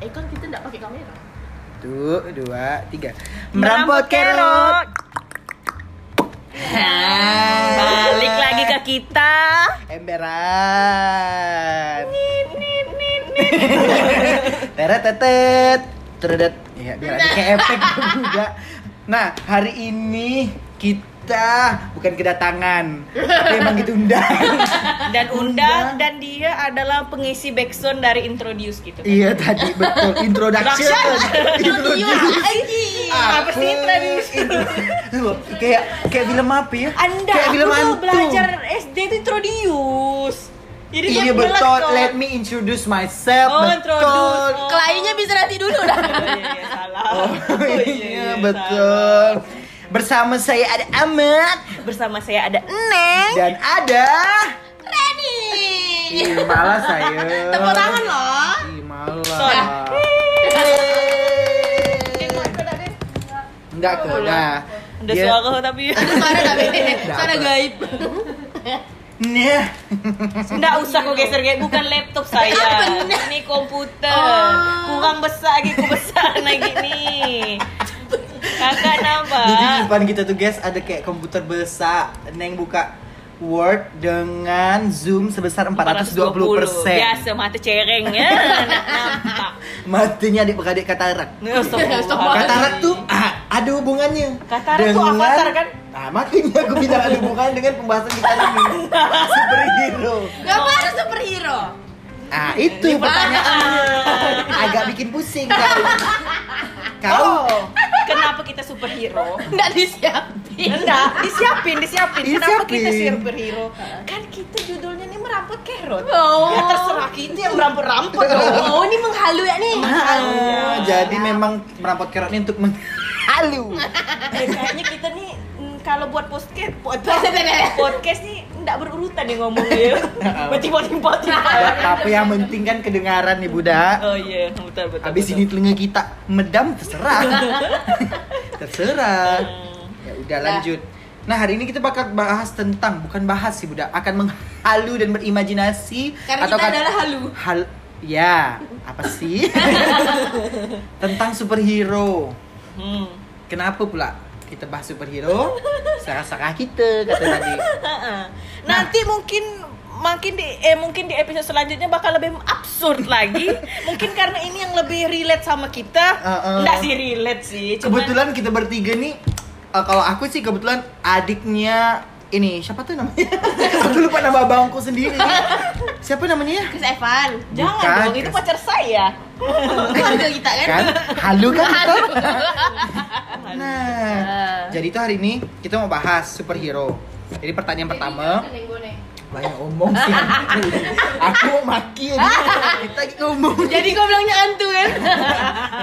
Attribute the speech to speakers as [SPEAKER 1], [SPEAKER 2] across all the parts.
[SPEAKER 1] Eh kan kita nggak pakai kamera.
[SPEAKER 2] Tuh, dua, tiga. Merampok
[SPEAKER 3] Merampok
[SPEAKER 2] kerot.
[SPEAKER 3] Balik lagi ke kita.
[SPEAKER 2] Emberan. Teret tetet. Teredet. Ya, biar ada kayak efek juga. Nah, hari ini kita bukan kedatangan, tapi emang ditunda.
[SPEAKER 3] Dan undang dan dia adalah pengisi backsound dari introduce gitu. kan.
[SPEAKER 2] Iya tadi betul introduction. introduction.
[SPEAKER 3] Apa Iya, sih Ah, introduce?
[SPEAKER 2] Intro- kayak kayak film apa ya?
[SPEAKER 3] Anda
[SPEAKER 2] kayak
[SPEAKER 3] aku
[SPEAKER 2] film
[SPEAKER 3] tuh
[SPEAKER 2] hantu.
[SPEAKER 3] belajar SD itu introduce. Jadi
[SPEAKER 2] Iya
[SPEAKER 3] dia
[SPEAKER 2] betul.
[SPEAKER 3] belet,
[SPEAKER 2] Let
[SPEAKER 3] Ton.
[SPEAKER 2] me introduce myself.
[SPEAKER 3] Oh,
[SPEAKER 2] betul.
[SPEAKER 3] introduce. Oh.
[SPEAKER 1] Kliennya bisa nanti dulu dah.
[SPEAKER 3] Iya, iya, salah.
[SPEAKER 2] Oh,
[SPEAKER 3] iya,
[SPEAKER 2] iya
[SPEAKER 3] iya, salah.
[SPEAKER 2] betul. Bersama saya ada Ahmad
[SPEAKER 3] Bersama saya ada
[SPEAKER 1] Neng,
[SPEAKER 2] dan ada
[SPEAKER 1] Reni.
[SPEAKER 2] Ih, malas saya.
[SPEAKER 1] Iya. Tepuk tangan loh.
[SPEAKER 2] Ih, malas.
[SPEAKER 3] Son.
[SPEAKER 2] Enggak kok. Nah.
[SPEAKER 3] Ada
[SPEAKER 2] dia-
[SPEAKER 3] suara tapi
[SPEAKER 1] Ada suara tapi suara
[SPEAKER 2] Dapat.
[SPEAKER 1] gaib.
[SPEAKER 2] Nih.
[SPEAKER 3] Nggak usah kau geser kayak bukan laptop saya.
[SPEAKER 1] Apa nih?
[SPEAKER 3] Ini komputer.
[SPEAKER 1] Oh.
[SPEAKER 3] Kurang besar lagi, ku besar lagi nih.
[SPEAKER 2] Jadi
[SPEAKER 3] Kakak
[SPEAKER 2] di
[SPEAKER 3] nampak.
[SPEAKER 2] depan kita tuh guys ada kayak komputer besar Neng buka Word dengan zoom sebesar 420
[SPEAKER 3] Biasa mata cereng ya. Nak nampak.
[SPEAKER 2] Matinya adik-beradik katarak
[SPEAKER 3] Nih, Astagfirullah.
[SPEAKER 2] Katarak tuh ah, ada hubungannya
[SPEAKER 3] Katarak tuh avatar, kan?
[SPEAKER 2] Nah makanya aku bilang ada hubungan dengan pembahasan kita ini Superhero
[SPEAKER 1] Gak harus superhero.
[SPEAKER 2] Ah itu pertanyaannya Agak bikin pusing kan Kau
[SPEAKER 3] Oh. Kenapa kita superhero?
[SPEAKER 1] Nggak disiapin.
[SPEAKER 3] Iya. Enggak, disiapin, disiapin. Kenapa kita
[SPEAKER 2] Disiapin.
[SPEAKER 3] superhero? Kan kita judulnya nih merampok kerot.
[SPEAKER 1] Oh.
[SPEAKER 3] Ya terserah kita yang merampok-rampok dong.
[SPEAKER 1] Oh, ini menghalu ya nih.
[SPEAKER 3] Oh,
[SPEAKER 2] Ah,
[SPEAKER 3] iya.
[SPEAKER 2] Jadi memang merampok kerot ini untuk menghalu
[SPEAKER 3] Eh, kayaknya kita nih mm, kalau buat podcast podcast,
[SPEAKER 1] Podcast.
[SPEAKER 3] podcast nih nggak berurutan nih ngomongnya bertiba-tiba tiba
[SPEAKER 2] Gak apa yang penting kan kedengaran nih Budak
[SPEAKER 3] oh iya betul betul
[SPEAKER 2] Habis
[SPEAKER 3] betul.
[SPEAKER 2] ini telinga kita medam terserah. terserah.
[SPEAKER 3] Hmm,
[SPEAKER 1] Iya.
[SPEAKER 2] Ya udah lanjut. Nah, hari ini kita bakal bahas tentang bukan bahas sih Budak, akan menghalu dan berimajinasi
[SPEAKER 1] Karena kita
[SPEAKER 2] kan-
[SPEAKER 1] adalah halu.
[SPEAKER 2] Hal ya, apa sih? tentang superhero.
[SPEAKER 3] hmm.
[SPEAKER 2] Kenapa pula kita bahas superhero? Sarah-sarah kita kata tadi. Nah.
[SPEAKER 3] Ha-ha. Nah, nanti mungkin makin di eh mungkin di episode selanjutnya bakal lebih absurd lagi mungkin karena ini yang lebih relate sama kita
[SPEAKER 2] Uh-uh.
[SPEAKER 3] nggak sih relate sih cuman
[SPEAKER 2] Kebetulan kita bertiga nih eh, kalau aku sih kebetulan adiknya ini siapa tuh namanya? aku lupa nama abangku sendiri. Siapa namanya ya?
[SPEAKER 1] Kes Evan.
[SPEAKER 3] jangan
[SPEAKER 2] Bukan,
[SPEAKER 3] dong itu
[SPEAKER 2] kes-
[SPEAKER 3] pacar saya
[SPEAKER 1] Keluarga kita kan.
[SPEAKER 2] Kan? Halu kan? betul? Nah, jadi itu hari ini kita mau bahas superhero. Jadi pertanyaan pertama,
[SPEAKER 4] Kan?
[SPEAKER 2] banyak omong sih. aku mau maki aja. Kita lagi ngomong.
[SPEAKER 1] Jadi gue bilangnya hantu kan.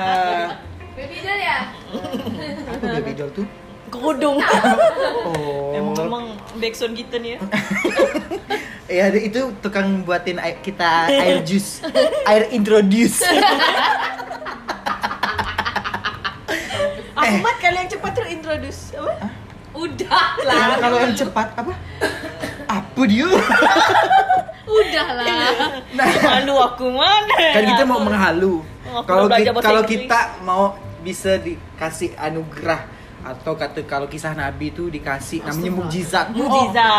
[SPEAKER 2] Eh,
[SPEAKER 4] Baby doll ya?
[SPEAKER 2] apa baby doll tuh?
[SPEAKER 3] kerudung
[SPEAKER 2] Oh.
[SPEAKER 3] emang emang backsound kita nih ya
[SPEAKER 2] Eh. Ya itu tukang buatin air- kita air jus, air introduce. Eh.
[SPEAKER 3] Ahmad kali yang cepat tuh introduce apa?
[SPEAKER 4] Udah lah,
[SPEAKER 2] Nah, kalau yang cepat apa? Apa dia?
[SPEAKER 4] udah
[SPEAKER 1] Ya
[SPEAKER 4] lah.
[SPEAKER 2] Nah,
[SPEAKER 3] Malu aku mana?
[SPEAKER 2] kan kita mau menghalu.
[SPEAKER 3] Iya, Aku
[SPEAKER 2] Kalau
[SPEAKER 3] belum belajar
[SPEAKER 2] kita,
[SPEAKER 3] bahasa
[SPEAKER 2] kalau
[SPEAKER 3] Inggris.
[SPEAKER 2] kita mau bisa dikasih anugerah atau kata kalau kisah Nabi itu dikasih namanya mukjizat.
[SPEAKER 3] Oh, Mujizat.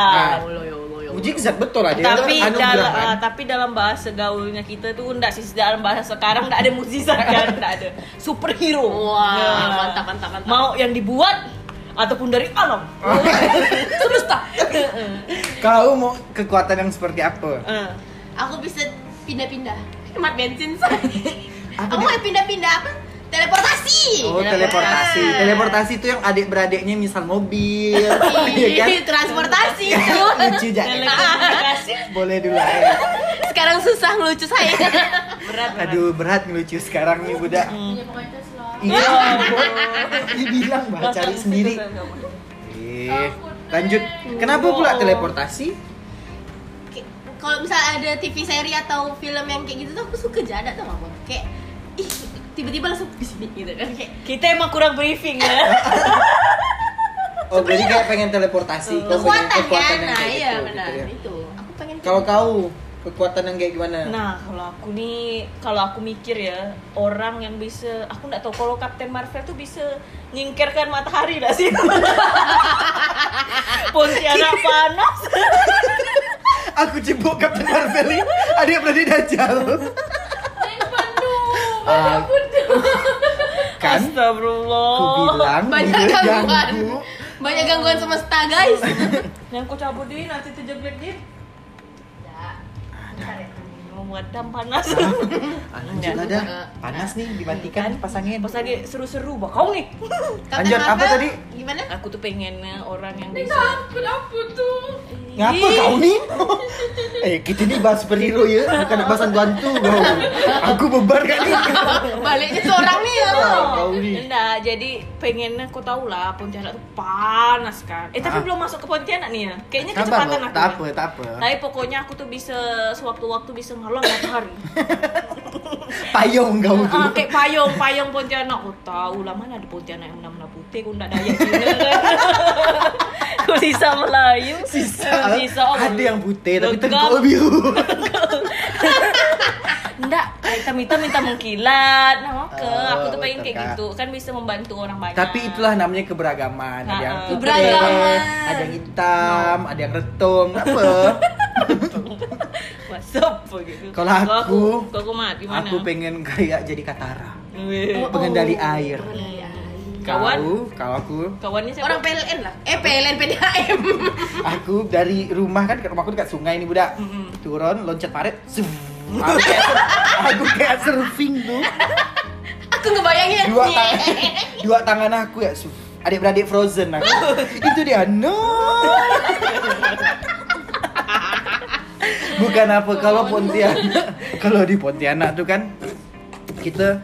[SPEAKER 2] Oh,
[SPEAKER 1] ya
[SPEAKER 2] nah, mukjizat betul lah dia itu
[SPEAKER 3] tapi dalam eh,
[SPEAKER 2] anugerah. kan?
[SPEAKER 3] tapi dalam bahasa gaulnya kita tuh enggak sih dalam bahasa sekarang enggak ada mukjizat kan enggak ada superhero.
[SPEAKER 4] Wah,
[SPEAKER 2] Ya.
[SPEAKER 3] Nah.
[SPEAKER 4] mantap, mantap, mantap.
[SPEAKER 3] Mau yang dibuat ataupun dari alam.
[SPEAKER 2] Oh.
[SPEAKER 3] Semesta.
[SPEAKER 2] Kau mau kekuatan yang seperti apa?
[SPEAKER 3] Eh,
[SPEAKER 4] Aku bisa pindah-pindah. Hemat bensin saya.
[SPEAKER 2] Apa
[SPEAKER 4] Aku
[SPEAKER 2] dia?
[SPEAKER 4] mau pindah-pindah apa?
[SPEAKER 3] Iya,
[SPEAKER 4] Teleportasi.
[SPEAKER 2] Oh, teleportasi. Teleportasi itu yang adik-beradiknya misal mobil. Iya kan?
[SPEAKER 4] Ih, Transportasi itu.
[SPEAKER 2] Lucu jadi.
[SPEAKER 3] Telekomunikasi.
[SPEAKER 2] Boleh dulu aja.
[SPEAKER 4] Sekarang susah ngelucu saya.
[SPEAKER 3] Berat. Hmm. berat.
[SPEAKER 2] Aduh berat ngelucu sekarang nih budak.
[SPEAKER 4] Punya pengantin selalu.
[SPEAKER 2] Iya, ampun. Dia bilang bah
[SPEAKER 3] Bahasa
[SPEAKER 2] cari
[SPEAKER 3] Inggris
[SPEAKER 2] sendiri.
[SPEAKER 3] itu enggak boleh.
[SPEAKER 2] Eh, lanjut. Kenapa pula teleportasi?
[SPEAKER 4] Kayak- kalau misalnya ada TV seri atau film yang kayak gitu tuh aku suka jada tau gak aku kayak ih tiba-tiba langsung ke sini gitu kan kayak
[SPEAKER 3] Kita emang kurang briefing ya.
[SPEAKER 2] Oh, jadi Oh, kayak pengen teleportasi. Kau pengen
[SPEAKER 4] kekuatan kan
[SPEAKER 2] yang
[SPEAKER 4] nah
[SPEAKER 2] kayak
[SPEAKER 4] iya
[SPEAKER 2] gitu,
[SPEAKER 4] benar
[SPEAKER 2] gitu ya.
[SPEAKER 4] itu aku pengen
[SPEAKER 2] Kalau kau kekuatan yang kayak gimana?
[SPEAKER 3] Nah, kalau aku nih, kalau aku mikir ya, orang yang bisa, aku nggak tahu kalau Captain Marvel tuh bisa nyingkirkan matahari nggak sih? Pontianak
[SPEAKER 2] Kan?
[SPEAKER 3] panas.
[SPEAKER 2] Aku cebok Captain Marvel ini, ada yang berani dajal. Ah, kan
[SPEAKER 3] Astagfirullah.
[SPEAKER 2] aku
[SPEAKER 4] Oh,
[SPEAKER 2] bilang
[SPEAKER 1] Banyak
[SPEAKER 2] dia
[SPEAKER 1] gangguan.
[SPEAKER 2] ganggu.
[SPEAKER 1] Banyak gangguan semesta, guys.
[SPEAKER 3] Yang kau cabut deh nanti terjebak deh. ya, Madam panas.
[SPEAKER 2] Ah, lanjut lah dah.
[SPEAKER 4] Nah,
[SPEAKER 2] Panas nih
[SPEAKER 4] eh, kan?
[SPEAKER 2] dimatikan pasangin.
[SPEAKER 3] Eh, Pas lagi seru-seru bakau nih.
[SPEAKER 2] Lanjut, apa
[SPEAKER 1] Marvel,
[SPEAKER 2] tadi?
[SPEAKER 1] Gimana?
[SPEAKER 3] Aku tuh pengennya orang yang bisa.
[SPEAKER 4] Kenapa tuh?
[SPEAKER 2] Ngapa
[SPEAKER 3] Ih.
[SPEAKER 2] kau nih? eh, kita nih bahas superhero ya, bukan bahas hantu-hantu kau. Aku bebar kan nih.
[SPEAKER 1] Baliknya seorang nih ya.
[SPEAKER 2] Tahu nih.
[SPEAKER 3] Enggak, jadi pengennya kau tahu lah Pontianak tuh panas kan. Eh tapi
[SPEAKER 2] Ah.
[SPEAKER 3] belum masuk ke Pontianak nih ya. Kayaknya
[SPEAKER 2] Sabar,
[SPEAKER 3] kecepatan
[SPEAKER 2] Bo.
[SPEAKER 3] aku.
[SPEAKER 2] tak
[SPEAKER 3] nih.
[SPEAKER 2] apa, tak apa.
[SPEAKER 3] Tapi pokoknya aku tuh bisa sewaktu-waktu bisa ngalang matahari.
[SPEAKER 2] Payung kau tuh.
[SPEAKER 3] Ah, kayak payung, payung Pontianak. Aku tahu lah mana ada Pontianak yang menang-menang putih, aku enggak daya Cina kan. Aku sisa Melayu,
[SPEAKER 2] Sisa,
[SPEAKER 3] sisa oh.
[SPEAKER 2] ada yang putih tapi
[SPEAKER 3] Legam.
[SPEAKER 2] tengkol biru.
[SPEAKER 3] Enggak, hitam-hitam minta mengkilat. Nah, oke,
[SPEAKER 2] Oh,
[SPEAKER 3] aku tuh pengen kayak
[SPEAKER 2] betul, Kak.
[SPEAKER 3] gitu. Kan bisa membantu orang banyak.
[SPEAKER 2] Tapi itulah namanya keberagaman. Ada yang
[SPEAKER 3] Nah,
[SPEAKER 2] putih,
[SPEAKER 1] keberagaman.
[SPEAKER 2] ada yang hitam, ada yang retung, apa?
[SPEAKER 3] What's up gitu.
[SPEAKER 2] Kalau aku-
[SPEAKER 3] kalau aku mati gimana?
[SPEAKER 2] Aku pengen kayak jadi Katara,
[SPEAKER 3] Weh.
[SPEAKER 4] Oh,
[SPEAKER 2] pengendali air.
[SPEAKER 3] Kawan?
[SPEAKER 2] Kau, kau aku,
[SPEAKER 3] Kawannya siapa?
[SPEAKER 1] Orang PLN lah. Eh PLN PDAM.
[SPEAKER 2] aku dari rumah kan, rumahku dekat sungai ini budak.
[SPEAKER 3] Mm-mm.
[SPEAKER 2] Turun, loncat parit, zoom. Aku kayak, aku kayak surfing tuh.
[SPEAKER 1] Aku ngebayangin.
[SPEAKER 2] Dua tangan, dua tangan aku ya, zoom. Adik-beradik Frozen aku. Itu dia, no. Bukan apa
[SPEAKER 1] Oh,
[SPEAKER 2] kalau Pontianak, kalau di Pontianak tuh kan kita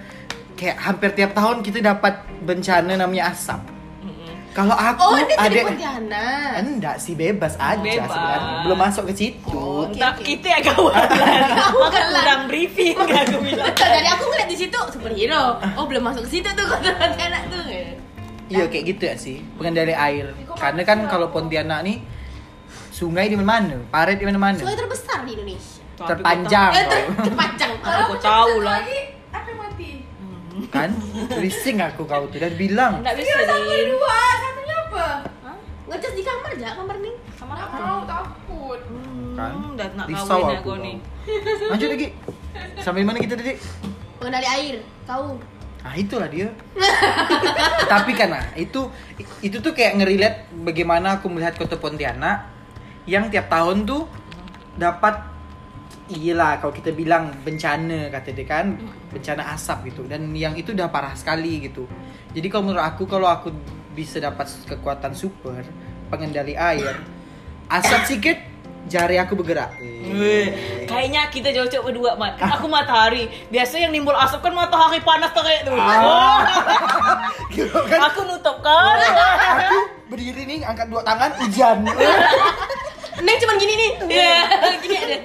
[SPEAKER 2] kayak hampir tiap tahun kita dapat bencana namanya asap.
[SPEAKER 3] Mm-mm.
[SPEAKER 2] Kalau aku
[SPEAKER 1] Oh, ini jadi
[SPEAKER 2] adik-
[SPEAKER 1] Pontianak.
[SPEAKER 2] Enggak sih bebas aja
[SPEAKER 3] Bebas.
[SPEAKER 2] sebenarnya. Belum masuk ke situ.
[SPEAKER 1] Oh. Oke,
[SPEAKER 3] Entah
[SPEAKER 1] oke.
[SPEAKER 3] kita ya kawan. Maka
[SPEAKER 1] Kawan lah.
[SPEAKER 3] kurang briefing aku bilang.
[SPEAKER 1] Betul, dari aku ngeliat di situ superhero. Oh, belum masuk ke situ tuh kota anak tuh.
[SPEAKER 2] Iya kayak gitu ya sih. Pengendali air. Karena kan kalau Pontianak nih sungai di mana-mana, parit di mana-mana.
[SPEAKER 1] Sungai terbesar di Indonesia.
[SPEAKER 2] Terpanjang
[SPEAKER 1] Eh, ter
[SPEAKER 2] kau.
[SPEAKER 1] terpanjang.
[SPEAKER 3] Ah, Aku tahu lah.
[SPEAKER 4] Apa mati?
[SPEAKER 2] kan? Rising aku kau tuh dan bilang
[SPEAKER 3] Enggak
[SPEAKER 1] Iya,
[SPEAKER 3] bisa di
[SPEAKER 4] Dua, satunya apa?
[SPEAKER 1] Ngecas di kamar aja, kamar ning.
[SPEAKER 3] kamar
[SPEAKER 4] Nggak
[SPEAKER 3] aku.
[SPEAKER 4] mau takut.
[SPEAKER 2] kan.
[SPEAKER 3] Hmm, dan nak
[SPEAKER 2] Risau
[SPEAKER 3] kawin
[SPEAKER 2] aku.
[SPEAKER 3] aku
[SPEAKER 2] kau.
[SPEAKER 3] nih.
[SPEAKER 2] Lanjut lagi. Sampai mana kita tadi?
[SPEAKER 1] Pengendali air, kau.
[SPEAKER 2] Ah itulah dia. Tapi kan nah, itu itu tuh kayak ngerilet bagaimana aku melihat kota Pontianak yang tiap tahun tuh dapat iyalah kalau kita bilang bencana kata dia kan bencana asap gitu dan yang itu udah parah sekali gitu. Jadi kalau menurut aku kalau aku bisa dapat kekuatan super pengendali air asap sedikit jari aku bergerak.
[SPEAKER 3] Weh, Kayaknya kita cocok berdua, Mat.
[SPEAKER 2] Ah.
[SPEAKER 3] Aku matahari. Biasa yang nimbul asap kan matahari panas tuh kayak tuh. Oh,
[SPEAKER 2] Kira Ah. kan Ah.
[SPEAKER 3] Aku nutup kan.
[SPEAKER 2] aku berdiri nih angkat dua tangan hujan.
[SPEAKER 1] Neng cuman gini nih.
[SPEAKER 3] Iya.
[SPEAKER 1] gini ada.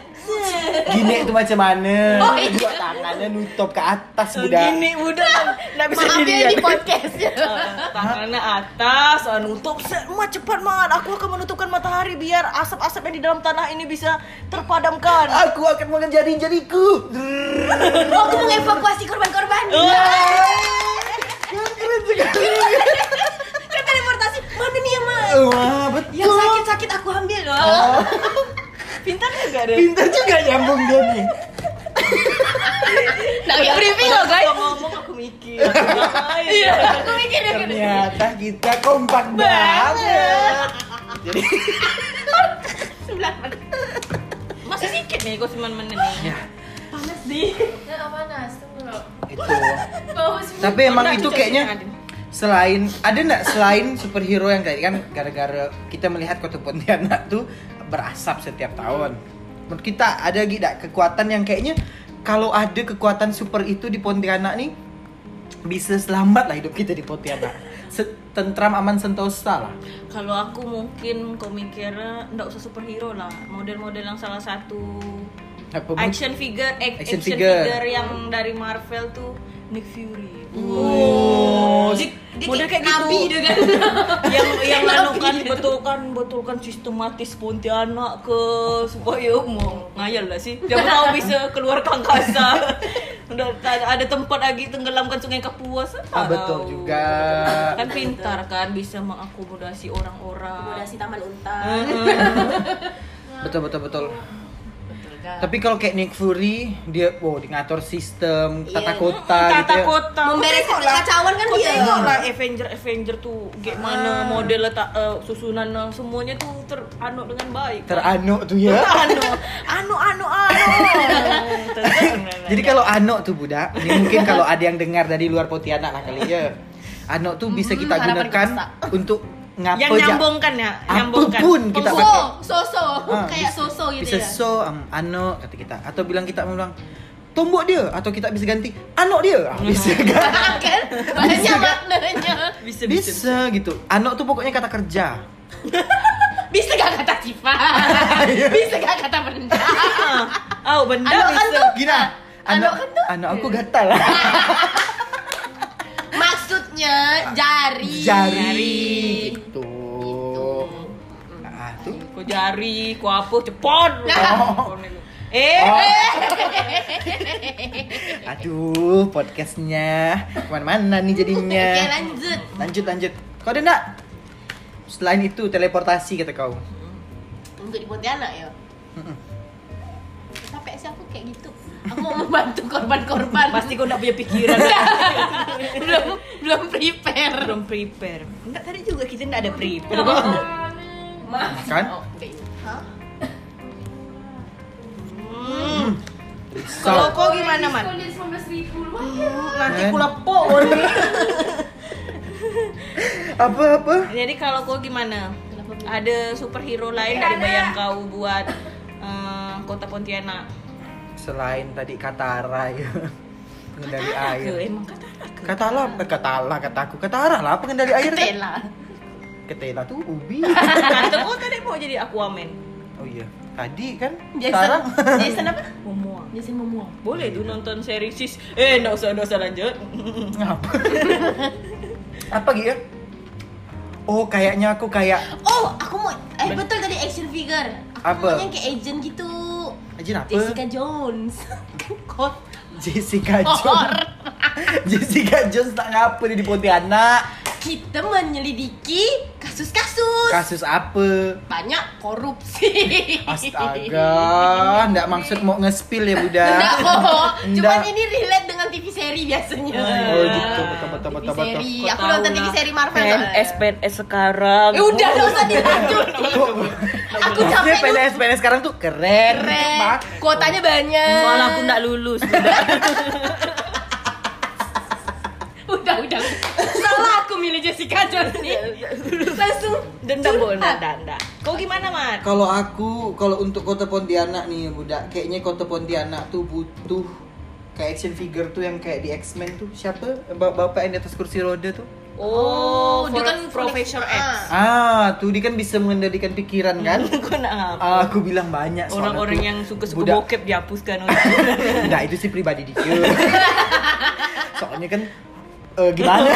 [SPEAKER 2] Gini tuh macam mana?
[SPEAKER 1] Oh, iya. Oh,
[SPEAKER 2] Dua tangannya nutup ke atas udah.
[SPEAKER 3] Gini udah enggak bisa
[SPEAKER 1] Maaf ya
[SPEAKER 3] dilihat.
[SPEAKER 1] di podcast.
[SPEAKER 3] Eh, tangannya atas eh, nutup Set, mat cepat mat aku akan menutupkan matahari biar asap-asap yang di dalam tanah ini bisa terpadamkan
[SPEAKER 2] Aku akan makan jari-jariku.
[SPEAKER 1] Oh, aku mau evakuasi korban-korban.
[SPEAKER 2] Oh. Ya. Keren sekali.
[SPEAKER 1] Kan teleportasi. Mana nih yang mah?
[SPEAKER 2] Wah,
[SPEAKER 1] Yang
[SPEAKER 2] betul.
[SPEAKER 1] sakit-sakit aku ambil
[SPEAKER 2] Oh.
[SPEAKER 1] loh.
[SPEAKER 3] pintar juga deh
[SPEAKER 2] Pintar juga nyambung dia nih.
[SPEAKER 1] Nah, ya briefing loh, guys.
[SPEAKER 3] ngomong aku mikir iya
[SPEAKER 1] Aku mikir deh.
[SPEAKER 2] Ternyata kita kompak banget. Jadi,
[SPEAKER 1] Sebelah mana?
[SPEAKER 3] masih sedikit nih kok 9 menit nih
[SPEAKER 2] ya,
[SPEAKER 1] Panas di.
[SPEAKER 4] Nggak Ya, panas, tunggu.
[SPEAKER 2] itu.
[SPEAKER 4] Bau semua.
[SPEAKER 2] Tapi emang
[SPEAKER 3] Pernah
[SPEAKER 2] itu
[SPEAKER 3] cuci
[SPEAKER 2] kayaknya
[SPEAKER 3] tangan.
[SPEAKER 2] selain ada nggak selain superhero yang tadi kan gara-gara kita melihat kota Pontianak tuh berasap setiap tahun. Menurut kita ada lagi nggak kekuatan yang kayaknya kalau ada kekuatan super itu di Pontianak nih bisa selamat lah hidup kita di Pontianak. Se- Tentram aman sentosa lah.
[SPEAKER 3] Kalau aku mungkin kau mikirnya nggak usah superhero lah, model-model yang salah satu
[SPEAKER 2] Apa, Bu?
[SPEAKER 3] action figure, ac-
[SPEAKER 2] Action
[SPEAKER 3] action,
[SPEAKER 2] figure.
[SPEAKER 3] figure. yang dari Marvel tuh Nick Fury
[SPEAKER 2] Oh,
[SPEAKER 3] Jadi model kayak
[SPEAKER 4] nabi
[SPEAKER 3] gitu
[SPEAKER 4] dia kan.
[SPEAKER 3] yang yang anu
[SPEAKER 4] Nabi.
[SPEAKER 3] kan betulkan betulkan sistematis Pontianak ke supaya mau ngayal lah sih dia mau bisa keluar kangkasa udah tak ada tempat lagi tenggelamkan sungai Kapuas tak
[SPEAKER 2] Ah, betul
[SPEAKER 3] tahu.
[SPEAKER 2] juga.
[SPEAKER 3] kan pintar kan bisa mengakomodasi
[SPEAKER 4] Udah
[SPEAKER 3] orang-orang
[SPEAKER 4] si taman unta.
[SPEAKER 2] betul betul betul
[SPEAKER 3] Betul kan?
[SPEAKER 2] Tapi kalau kayak Nick Fury, dia wow, dia ngatur sistem,
[SPEAKER 4] Iya.
[SPEAKER 2] tata kota
[SPEAKER 3] tata
[SPEAKER 2] gitu. ya.
[SPEAKER 3] kota
[SPEAKER 4] Membereskan kekacauan kan
[SPEAKER 3] Kau
[SPEAKER 4] dia.
[SPEAKER 3] tengok lah Avenger Avenger tuh
[SPEAKER 2] Ah.
[SPEAKER 3] gimana model letak eh, susunan eh, semuanya tuh teranut dengan baik
[SPEAKER 2] Teranuk tuh ya.
[SPEAKER 3] anu anu anu anu
[SPEAKER 2] Jadi kalau anok tuh budak, ini mungkin kalau ada yang dengar dari luar Pontianak lah kali ya. Anok tuh bisa kita
[SPEAKER 4] harapan
[SPEAKER 2] gunakan
[SPEAKER 4] kita.
[SPEAKER 2] untuk ngapa
[SPEAKER 3] yang
[SPEAKER 2] ja-
[SPEAKER 3] nyambungkan ya nyambungkan
[SPEAKER 2] Apapun kita
[SPEAKER 4] So,
[SPEAKER 2] pakai.
[SPEAKER 4] so-so,
[SPEAKER 2] Ah,
[SPEAKER 4] kayak
[SPEAKER 2] bisa-
[SPEAKER 4] so-so gitu
[SPEAKER 2] bisa
[SPEAKER 4] ya.
[SPEAKER 2] so um, anok kata kita atau bilang kita bilang tombok dia atau kita bisa ganti anok dia. Ah, Bisa kan?
[SPEAKER 4] kan? Banyak maknanya.
[SPEAKER 2] Bisa,
[SPEAKER 3] bisa bisa bisa.
[SPEAKER 2] gitu. Anok tuh pokoknya kata kerja.
[SPEAKER 4] Bisa gak kata sifat? Bisa gak kata benda?
[SPEAKER 3] oh benda
[SPEAKER 2] Anu,
[SPEAKER 4] Anak kan
[SPEAKER 3] bisa
[SPEAKER 4] tuh-
[SPEAKER 2] Gina,
[SPEAKER 4] Anok kan tuh-
[SPEAKER 2] anok aku gatal. lah.
[SPEAKER 4] Maksudnya jari.
[SPEAKER 2] jari gitu. Ah, Nah, tuh.
[SPEAKER 3] ku jari ku apa cepot
[SPEAKER 2] Oh.
[SPEAKER 3] eh
[SPEAKER 2] Oh,
[SPEAKER 4] Oke
[SPEAKER 2] aduh, podcastnya kemana-mana nih jadinya.
[SPEAKER 4] lanjut.
[SPEAKER 2] Lanjut, lanjut. Kau ada enggak? Selain itu teleportasi kata kau.
[SPEAKER 4] Untuk di Pontianak ya. Capek sih aku kayak gitu. Aku mau membantu korban-korban.
[SPEAKER 3] pasti kau nggak punya pikiran
[SPEAKER 4] belum belum prepare.
[SPEAKER 3] belum prepare enggak tadi juga kita nggak ada prepare
[SPEAKER 2] Oh.
[SPEAKER 4] Maaf.
[SPEAKER 2] Kan?
[SPEAKER 4] Oh, enggak ini.
[SPEAKER 2] So,
[SPEAKER 3] kalau kau gimana man nanti ku lepok
[SPEAKER 2] apa-apa?
[SPEAKER 3] jadi kalau kau gimana
[SPEAKER 4] Kenapa?
[SPEAKER 3] ada superhero lain dari bayang kau buat eh, kota Pontianak
[SPEAKER 2] Selain tadi Katara ya. Pengendali air.
[SPEAKER 3] Ke, emang kan kata
[SPEAKER 2] Katala, eh, Katala kataku. Katara lah pengendali air kan.
[SPEAKER 4] Tela.
[SPEAKER 2] Ketela tuh ubi.
[SPEAKER 3] Tante kau Oh, tadi mau jadi Aquaman.
[SPEAKER 2] Oh iya. Tadi kan
[SPEAKER 4] Jason.
[SPEAKER 2] sekarang
[SPEAKER 4] Jason apa?
[SPEAKER 3] Momoa.
[SPEAKER 4] Jason Momoa.
[SPEAKER 3] Boleh tuh nonton seri sis. Eh, enggak usah, enggak usah lanjut.
[SPEAKER 2] apa? apa gitu? ya? Oh, kayaknya aku kayak
[SPEAKER 4] Oh, aku mau eh betul tadi action figure. Aku
[SPEAKER 2] Apa?
[SPEAKER 4] maunya kayak agent gitu.
[SPEAKER 2] Ajin apa?
[SPEAKER 4] Jessica Jones. Kan Kot.
[SPEAKER 2] Jessica
[SPEAKER 4] Horor.
[SPEAKER 2] Jones. Jessica Jones tak ngapa dia di Pontianak.
[SPEAKER 4] Kita menyelidiki kasus-kasus.
[SPEAKER 2] Kasus apa?
[SPEAKER 4] Banyak korupsi.
[SPEAKER 2] Astaga, ndak maksud mau nge-spill ya Buddha.
[SPEAKER 4] Enggak kok. oh, Cuman
[SPEAKER 2] Ndak.
[SPEAKER 4] ini relate dengan TV seri biasanya.
[SPEAKER 2] Oh gitu, betul
[SPEAKER 4] TV
[SPEAKER 2] betul betul betul.
[SPEAKER 4] seri. iya. Aku nonton TV seri Marvel.
[SPEAKER 3] PNS PNS sekarang.
[SPEAKER 4] Eh udah enggak usah dilanjutin. Aku
[SPEAKER 2] Maksudnya
[SPEAKER 4] capek dulu.
[SPEAKER 2] PNS PNS sekarang tuh keren.
[SPEAKER 4] Keren.
[SPEAKER 2] Mak.
[SPEAKER 4] Kuotanya banyak.
[SPEAKER 3] Malah aku enggak lulus. Udah.
[SPEAKER 4] Udah, udah. Salah aku milih Jessica Jones nih. Langsung
[SPEAKER 3] Dendam boleh
[SPEAKER 4] curhat.
[SPEAKER 3] enggak, enggak. Kau gimana, Mat?
[SPEAKER 2] Kalau aku, kalau untuk kota Pontianak nih budak, kayaknya kota Pontianak tuh butuh kayak action figure tuh yang kayak di X-Men tuh siapa Bap- bapak yang di atas kursi roda tuh
[SPEAKER 3] Oh,
[SPEAKER 4] Oh,
[SPEAKER 3] dia
[SPEAKER 4] dia kan
[SPEAKER 3] Professor
[SPEAKER 4] konek-
[SPEAKER 3] X.
[SPEAKER 2] ah tuh dia kan bisa mengendalikan pikiran kan
[SPEAKER 3] Kau nak ngapa?
[SPEAKER 2] Ah, aku bilang banyak soal
[SPEAKER 3] Orang-orang
[SPEAKER 2] aku.
[SPEAKER 3] yang suka-suka
[SPEAKER 2] budak
[SPEAKER 3] bokep dihapuskan
[SPEAKER 2] nah itu sih pribadi dia soalnya kan eh, gimana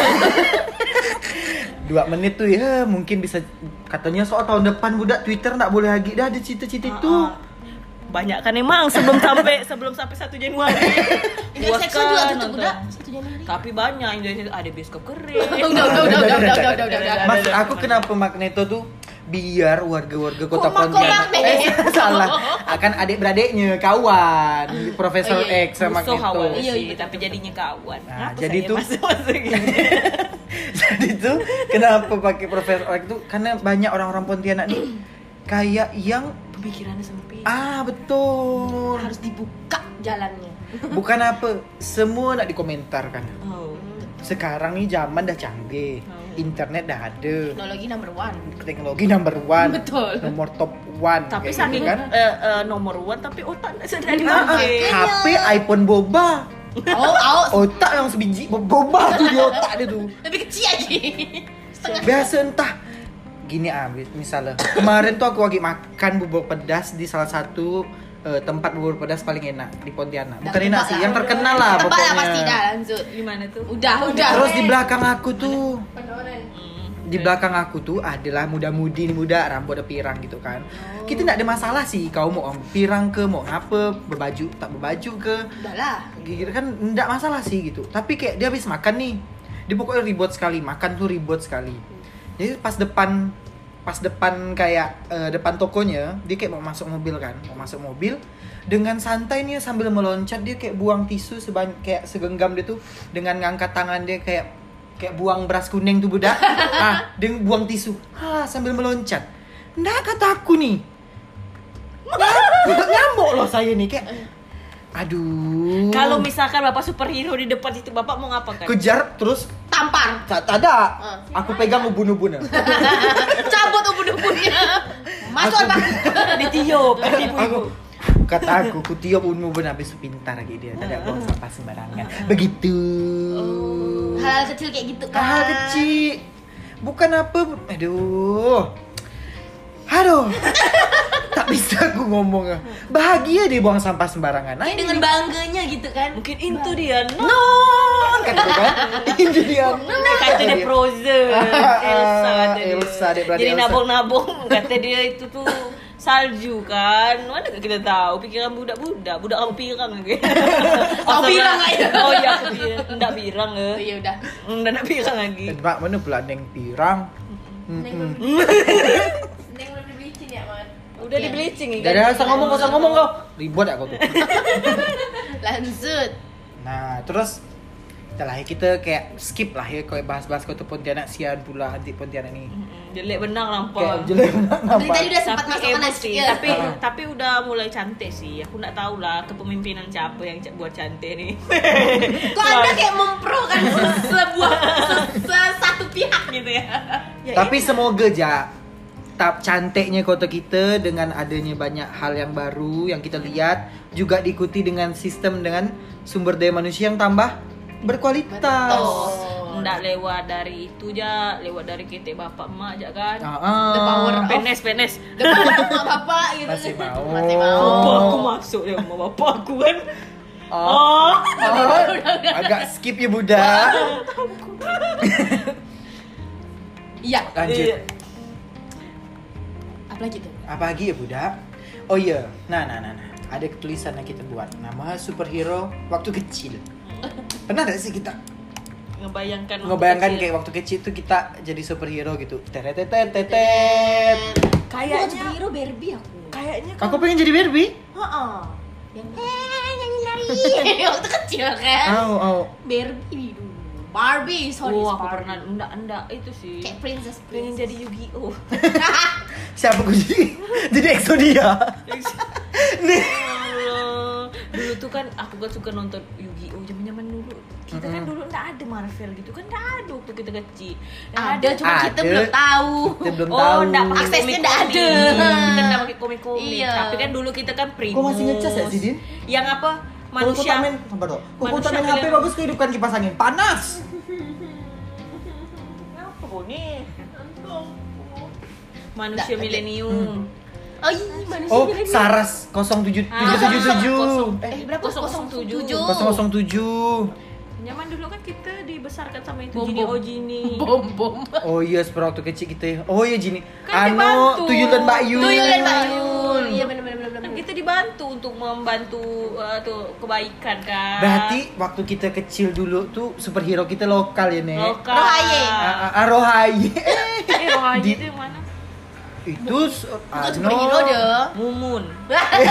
[SPEAKER 2] dua menit tuh ya mungkin bisa katanya soal tahun depan budak Twitter nggak boleh lagi dah ada
[SPEAKER 3] Ah,
[SPEAKER 2] cita-cita itu
[SPEAKER 3] Banyak kan emang sebelum sampai sebelum sampai 1 Januari.
[SPEAKER 4] Indonesia
[SPEAKER 3] Puas
[SPEAKER 4] Seksual juga
[SPEAKER 3] kan
[SPEAKER 4] tutup
[SPEAKER 3] nonton.
[SPEAKER 4] udah satu Januari.
[SPEAKER 3] Tapi banyak Indonesia ada bioskop
[SPEAKER 4] Udah,
[SPEAKER 3] keren.
[SPEAKER 4] udah, udah, udah, udah, udah, udah, udah, udah.
[SPEAKER 2] Maksud aku kenapa Magneto tuh biar warga-warga kota
[SPEAKER 4] Komang, komang,
[SPEAKER 2] Pontianak eh,
[SPEAKER 4] Nek.
[SPEAKER 2] salah akan adik-beradiknya kawan
[SPEAKER 4] Oh,
[SPEAKER 2] Profesor
[SPEAKER 4] iya,
[SPEAKER 2] X sama
[SPEAKER 3] Musuh awal
[SPEAKER 2] Magneto
[SPEAKER 3] sih,
[SPEAKER 4] Iya, iya, betul,
[SPEAKER 3] tapi jadinya kawan.
[SPEAKER 2] Nah,
[SPEAKER 3] Kenapa
[SPEAKER 2] jadi
[SPEAKER 3] saya
[SPEAKER 2] tuh-
[SPEAKER 3] masuk-masuk gini?
[SPEAKER 2] jadi tuh kenapa pakai Profesor X tuh karena banyak orang-orang Pontianak nih kayak yang
[SPEAKER 3] Pemikirannya sempit.
[SPEAKER 2] ah betul
[SPEAKER 4] Harus dibuka jalannya.
[SPEAKER 2] bukan apa semua nak dikomentarkan
[SPEAKER 3] Oh.
[SPEAKER 4] Hmm.
[SPEAKER 2] sekarang nih zaman dah canggih
[SPEAKER 4] Oh.
[SPEAKER 2] internet dah ada
[SPEAKER 4] Teknologi number one.
[SPEAKER 2] teknologi number one
[SPEAKER 4] Betul.
[SPEAKER 2] nomor top one
[SPEAKER 3] Tapi
[SPEAKER 2] kayak gitu
[SPEAKER 3] saking
[SPEAKER 2] kan
[SPEAKER 3] eh, eh, nomor one tapi otak sudah
[SPEAKER 2] Ah, ah,
[SPEAKER 3] dipakai.
[SPEAKER 2] HP iPhone boba
[SPEAKER 4] Oh, out.
[SPEAKER 2] otak yang sebiji bo- boba tuh di otak dia tuh
[SPEAKER 4] Lebih kecil lagi. Setengah.
[SPEAKER 2] biasa entah gini ah mis- misalnya kemarin tuh aku lagi makan bubur pedas di salah satu eh, tempat bubur pedas paling enak di Pontianak. Bukan
[SPEAKER 1] Dah,
[SPEAKER 2] enak
[SPEAKER 1] tebak
[SPEAKER 2] sih,
[SPEAKER 1] lah.
[SPEAKER 2] yang terkenal lah
[SPEAKER 4] Tebak
[SPEAKER 2] pokoknya.
[SPEAKER 4] lah pasti dah lanjut.
[SPEAKER 3] Gimana tuh?
[SPEAKER 1] Udah, udah.
[SPEAKER 2] Terus di belakang aku tuh,
[SPEAKER 4] Pedoran.
[SPEAKER 2] di belakang aku tuh adalah muda-mudi nih muda rambut ada pirang gitu kan.
[SPEAKER 4] Oh.
[SPEAKER 2] Kita nggak ada masalah sih kau mau om pirang ke mau apa berbaju tak berbaju ke
[SPEAKER 4] Udah lah.
[SPEAKER 2] gitu kan nggak masalah sih gitu tapi kayak dia habis makan nih dia pokoknya ribut sekali makan tuh ribut sekali jadi pas depan pas depan kayak eh, depan tokonya dia kayak mau masuk mobil kan mau masuk mobil dengan santainya sambil meloncat dia kayak buang tisu sebanyak kayak segenggam dia tuh dengan ngangkat tangan dia kayak kayak buang beras kuning tuh budak ah dia buang tisu ah sambil meloncat ndak kata aku nih Nggak- ngamuk loh saya nih kayak aduh
[SPEAKER 3] Kalau misalkan bapak superhero di depan situ bapak mau kan? ngapakan?
[SPEAKER 2] kejar terus
[SPEAKER 4] Tampar.
[SPEAKER 2] tak tak
[SPEAKER 3] Ah,
[SPEAKER 2] ada aku pegang ubun-ubunnya
[SPEAKER 4] Cabut ubun-ubunnya. Masuk
[SPEAKER 2] Aku-
[SPEAKER 4] apa?
[SPEAKER 3] Ditiup, ibu-ibu.
[SPEAKER 2] aku kata aku ku tiup ubun-ubun habis itu pintar lagi dia
[SPEAKER 3] Ah.
[SPEAKER 2] tidak buang sampah sembarangan begitu
[SPEAKER 3] Oh.
[SPEAKER 4] Hal kecil kayak gitu kan.
[SPEAKER 3] Ah.
[SPEAKER 2] hal kecil bukan apa aduh aduh tak bisa aku ngomong ah. bahagia dia buang sampah sembarangan
[SPEAKER 4] Kayak dengan bangganya gitu kan.
[SPEAKER 3] Mungkin itu dia. No.
[SPEAKER 2] non kata dia kan ini dia
[SPEAKER 3] Kata dia Frozen, Elsa,
[SPEAKER 2] Ah,
[SPEAKER 3] kata dia.
[SPEAKER 2] Elsa, adik beradik
[SPEAKER 3] Jadi
[SPEAKER 2] Elsa.
[SPEAKER 3] nabung-nabung kata dia itu tuh salju kan. Mana kita tahu pikiran budak-budak, budak kamu pirang lagi.
[SPEAKER 4] Kau pirang aja.
[SPEAKER 3] Oh iya, aku pirang. Enggak pirang
[SPEAKER 4] Oh,
[SPEAKER 3] eh.
[SPEAKER 4] ya udah.
[SPEAKER 3] Enggak nak pirang lagi.
[SPEAKER 2] Tebak mana pula neng pirang Mm-mm.
[SPEAKER 4] Neng belum dibeli ya, Man.
[SPEAKER 3] Udah di bleaching kan?
[SPEAKER 2] Gak ada usah ngomong, gak usah ngomong kau Ribut aku tuh
[SPEAKER 4] Lanjut.
[SPEAKER 2] Nah, terus setelah kita kayak skip lah ya kayak bahas-bahas kota Pontianak sian pula anti Pontianak ini.
[SPEAKER 3] Jelek
[SPEAKER 2] Kayak
[SPEAKER 3] benang lampau.
[SPEAKER 2] jelek banget
[SPEAKER 4] Dari
[SPEAKER 2] nampak.
[SPEAKER 4] tadi udah sempat
[SPEAKER 3] tapi
[SPEAKER 4] masuk ke
[SPEAKER 3] emosi
[SPEAKER 4] nasi.
[SPEAKER 3] ya,
[SPEAKER 4] ya?
[SPEAKER 3] tapi
[SPEAKER 2] Ah.
[SPEAKER 3] tapi udah mulai cantik sih aku nggak tahu lah kepemimpinan siapa yang ca- buat cantik nih
[SPEAKER 4] Kok anda kayak memprokan sebuah se- se- satu pihak gitu ya?
[SPEAKER 3] Ya,
[SPEAKER 2] Tapi semoga ja tap cantiknya kota kita dengan adanya banyak hal yang baru yang kita lihat juga diikuti dengan sistem dengan sumber daya manusia yang tambah berkualitas.
[SPEAKER 3] Oh, ndak lewat dari itu ja, lewat dari ketek bapak emak aja kan.
[SPEAKER 2] Ah,
[SPEAKER 4] The power
[SPEAKER 2] ah.
[SPEAKER 4] of-
[SPEAKER 3] Penes penes.
[SPEAKER 4] Depan sama bapak gitu.
[SPEAKER 2] Masih mau.
[SPEAKER 4] Masih mau.
[SPEAKER 2] Oh.
[SPEAKER 3] Bapak aku masuk dia sama bapak aku kan.
[SPEAKER 2] Oh.
[SPEAKER 3] Oh.
[SPEAKER 2] Oh, agak skip ya budak.
[SPEAKER 4] Iya.
[SPEAKER 2] Lanjut.
[SPEAKER 4] Apalagi tuh?
[SPEAKER 2] Apalagi ya budak? Oh iya, nah nah nah nah. Ada tulisan yang kita buat nama superhero waktu kecil. Pernah gak sih kita
[SPEAKER 3] Ngebayangkan waktu
[SPEAKER 2] ngebayangkan
[SPEAKER 3] kecil.
[SPEAKER 2] kayak waktu kecil tuh kita jadi superhero gitu. Teretetetetet.
[SPEAKER 4] Bukan
[SPEAKER 3] kayaknya
[SPEAKER 4] superhero Barbie aku.
[SPEAKER 3] kayaknya kan
[SPEAKER 2] Aku pengen jadi Barbie.
[SPEAKER 4] Heeh. Yang eh yang lari waktu kecil
[SPEAKER 3] Eh.
[SPEAKER 4] kan.
[SPEAKER 2] Au au.
[SPEAKER 4] Barbie dulu. Barbie, sorry.
[SPEAKER 3] Oh, aku
[SPEAKER 4] Barbie.
[SPEAKER 3] pernah enggak enggak itu sih.
[SPEAKER 4] kayak princess
[SPEAKER 3] Pengen
[SPEAKER 4] princess.
[SPEAKER 3] jadi Yu-Gi-Oh.
[SPEAKER 2] Siapa gue jadi? jadi Exodia. Nih.
[SPEAKER 3] Allah. dulu tuh kan aku kan suka nonton Yu-Gi-Oh zaman zaman dulu kita kan dulu nggak ada Marvel gitu kan nggak ada waktu kita kecil Nggak
[SPEAKER 4] Ada cuma kita
[SPEAKER 2] Ada.
[SPEAKER 4] belum tahu.
[SPEAKER 2] Kita belum
[SPEAKER 3] oh
[SPEAKER 2] tahu.
[SPEAKER 3] nggak pakai
[SPEAKER 4] Aksesnya nggak
[SPEAKER 3] komik-komik.
[SPEAKER 4] ada.
[SPEAKER 3] kita nggak pakai komik komik
[SPEAKER 4] Iya.
[SPEAKER 3] tapi kan dulu kita kan primus
[SPEAKER 2] Kok masih ngecas ya, Sidin?
[SPEAKER 3] yang apa
[SPEAKER 2] Kalau
[SPEAKER 3] manusia
[SPEAKER 2] kau tak main, sabar dong. Kalau kau tak
[SPEAKER 3] Manusia
[SPEAKER 2] main HP
[SPEAKER 3] bilang-
[SPEAKER 2] bagus kehidupkan kipas angin. Panas.
[SPEAKER 3] apa kau ni manusia
[SPEAKER 2] Hmm.
[SPEAKER 3] milenium
[SPEAKER 4] Oh iya, manusia
[SPEAKER 2] Oh,
[SPEAKER 4] milenium.
[SPEAKER 2] Saras 07
[SPEAKER 3] Ah. Kosong-
[SPEAKER 2] 777.
[SPEAKER 4] Eh, berapa?
[SPEAKER 3] 007.
[SPEAKER 4] 007.
[SPEAKER 2] 007.
[SPEAKER 3] zaman dulu kan kita dibesarkan sama itu
[SPEAKER 1] Bom,
[SPEAKER 3] Jini
[SPEAKER 1] bom.
[SPEAKER 3] oh Jini
[SPEAKER 1] bom bom.
[SPEAKER 2] Oh iya, yes, waktu kecil kita ya. Oh iya Jini.
[SPEAKER 3] Kan
[SPEAKER 2] anu
[SPEAKER 3] dibantu.
[SPEAKER 2] tuyul dan Mbak Yul.
[SPEAKER 4] Tuyul dan Mbak Yul. Iya benar benar benar.
[SPEAKER 3] kan kita dibantu untuk membantu uh, tuh kebaikan kan
[SPEAKER 2] Berarti waktu kita kecil dulu tuh superhero kita lokal ya, Nek. Ah,
[SPEAKER 3] lokal
[SPEAKER 4] Rohaye.
[SPEAKER 2] A- A- Arohaye.
[SPEAKER 3] eh Rohaye
[SPEAKER 2] Di-
[SPEAKER 3] itu yang mana
[SPEAKER 2] Itu su-
[SPEAKER 4] Bukan
[SPEAKER 2] anu-
[SPEAKER 4] superhero gitu, dia.
[SPEAKER 3] Mumun
[SPEAKER 2] Eh.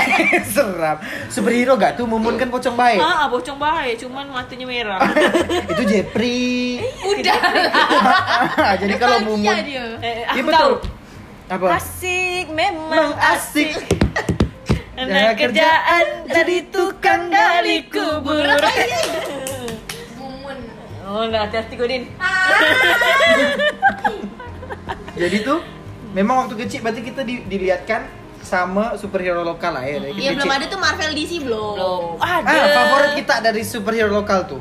[SPEAKER 2] Seram. Superhero gak tuh Mumun kan pocong baik.
[SPEAKER 3] ah ah, pocong bahaya cuman matanya merah
[SPEAKER 2] Itu Jepri.
[SPEAKER 4] Udah.
[SPEAKER 2] Jadi kalau Mumun.
[SPEAKER 4] Bahagia dia.
[SPEAKER 3] eh,
[SPEAKER 2] Iya
[SPEAKER 3] aku
[SPEAKER 2] betul.
[SPEAKER 3] tahu
[SPEAKER 2] Apa?
[SPEAKER 3] asik
[SPEAKER 2] Emang
[SPEAKER 3] memang
[SPEAKER 2] asik. ya,
[SPEAKER 3] Nah, kerjaan dari tukang gali kubur.
[SPEAKER 4] Mumun.
[SPEAKER 3] Oh, nggak hati-hati Godin.
[SPEAKER 2] Ah, Jadi tuh memang waktu kecil berarti kita di- dilihatkan sama superhero lokal lah ya. dari kita
[SPEAKER 4] Iya belum
[SPEAKER 2] kecil.
[SPEAKER 4] ada tuh Marvel DC belum.
[SPEAKER 3] Belum.
[SPEAKER 2] Ah,
[SPEAKER 3] Ada.
[SPEAKER 2] favorit kita dari superhero lokal tuh.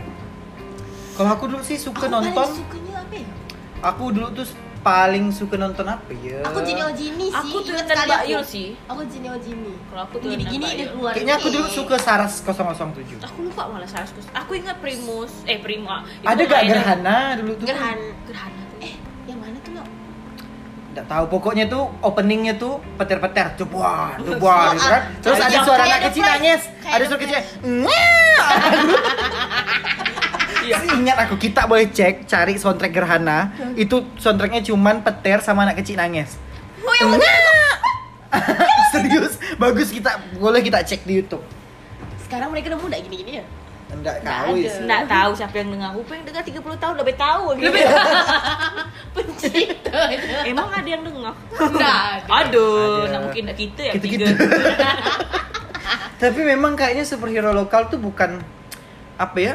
[SPEAKER 2] Kalau aku dulu sih suka
[SPEAKER 4] Aku paling
[SPEAKER 2] nonton, Eh.
[SPEAKER 4] sukanya apa ya?
[SPEAKER 2] aku dulu tuh paling suka nonton apa ya?
[SPEAKER 4] Aku Jini Ojimi sih.
[SPEAKER 3] Aku tuh
[SPEAKER 4] Ingat
[SPEAKER 3] dan
[SPEAKER 4] sekali
[SPEAKER 3] Mbak
[SPEAKER 4] aku.
[SPEAKER 3] Yul sih.
[SPEAKER 4] Aku Jini Ojimi.
[SPEAKER 3] Kalau aku tuh
[SPEAKER 4] Gini-gini
[SPEAKER 3] nembak
[SPEAKER 4] dia
[SPEAKER 3] Yul.
[SPEAKER 4] keluar.
[SPEAKER 2] Kayaknya aku
[SPEAKER 4] Eh,
[SPEAKER 2] dulu suka Saras 007.
[SPEAKER 3] Aku lupa malah Saras Kus. Aku ingat Primus, eh Prima. Itu
[SPEAKER 2] Ada
[SPEAKER 3] bukan
[SPEAKER 2] gak
[SPEAKER 3] idol.
[SPEAKER 2] gerhana dulu tuh?
[SPEAKER 4] Gerhan.
[SPEAKER 3] Gerhana tuh.
[SPEAKER 4] Eh, yang mana tuh? Nok?
[SPEAKER 2] Nggak tahu pokoknya tuh openingnya tuh petir-petir jebuan jebuan gitu kan terus ada
[SPEAKER 4] Kayak
[SPEAKER 2] suara
[SPEAKER 4] The
[SPEAKER 2] anak kecil
[SPEAKER 4] Price.
[SPEAKER 2] nangis
[SPEAKER 4] Kayak
[SPEAKER 2] ada
[SPEAKER 4] The
[SPEAKER 2] suara kecil
[SPEAKER 4] Price.
[SPEAKER 2] iya. ingat aku kita boleh cek cari soundtrack gerhana
[SPEAKER 4] Hmm.
[SPEAKER 2] itu soundtracknya cuman petir sama anak kecil nangis
[SPEAKER 4] Oh, yang mana?
[SPEAKER 2] serius bagus kita boleh kita cek di YouTube
[SPEAKER 4] Sekarang mereka udah muda gini-gini ya.
[SPEAKER 2] enggak
[SPEAKER 3] Nggak
[SPEAKER 2] tahu ya
[SPEAKER 3] ada.
[SPEAKER 2] sih
[SPEAKER 3] Nggak tahu siapa yang dengar. Aku pengen dengar 30 tahun lebih tahu gitu.
[SPEAKER 4] Pencipta.
[SPEAKER 3] Emang ada yang dengar?
[SPEAKER 4] Enggak.
[SPEAKER 3] Aduh,
[SPEAKER 2] Ada.
[SPEAKER 3] nak mungkin nak kita ya
[SPEAKER 2] Kita-kita.
[SPEAKER 3] tiga.
[SPEAKER 2] tapi memang kayaknya superhero lokal tuh bukan apa ya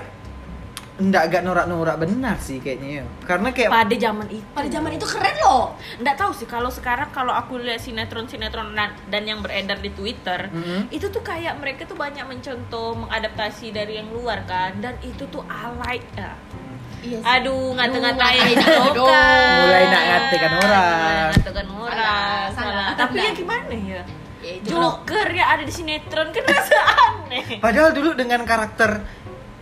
[SPEAKER 2] enggak agak norak-norak benar sih kayaknya ya karena kayak
[SPEAKER 3] Pada zaman itu.
[SPEAKER 4] Pada zaman itu keren loh.
[SPEAKER 3] Nggak tahu sih kalau sekarang kalau aku lihat sinetron-sinetron na- dan yang beredar di Twitter,
[SPEAKER 2] Mhm.
[SPEAKER 3] itu tuh kayak mereka tuh banyak mencontoh mengadaptasi dari yang luar kan dan itu tuh alay. ah.
[SPEAKER 4] Iya sih.
[SPEAKER 3] Aduh, ngata-ngatain
[SPEAKER 4] Aduh, ngatain.
[SPEAKER 3] Aduh,
[SPEAKER 2] Mulai nak ngatakan orang.
[SPEAKER 3] Ngatakan orang.
[SPEAKER 4] Salah,
[SPEAKER 3] Salah.
[SPEAKER 4] salah.
[SPEAKER 3] Tapi
[SPEAKER 4] Tanda.
[SPEAKER 3] ya gimana ya?
[SPEAKER 4] Ya, itu loh.
[SPEAKER 3] Joker ya ada di sinetron kan rasa aneh.
[SPEAKER 2] Padahal dulu dengan karakter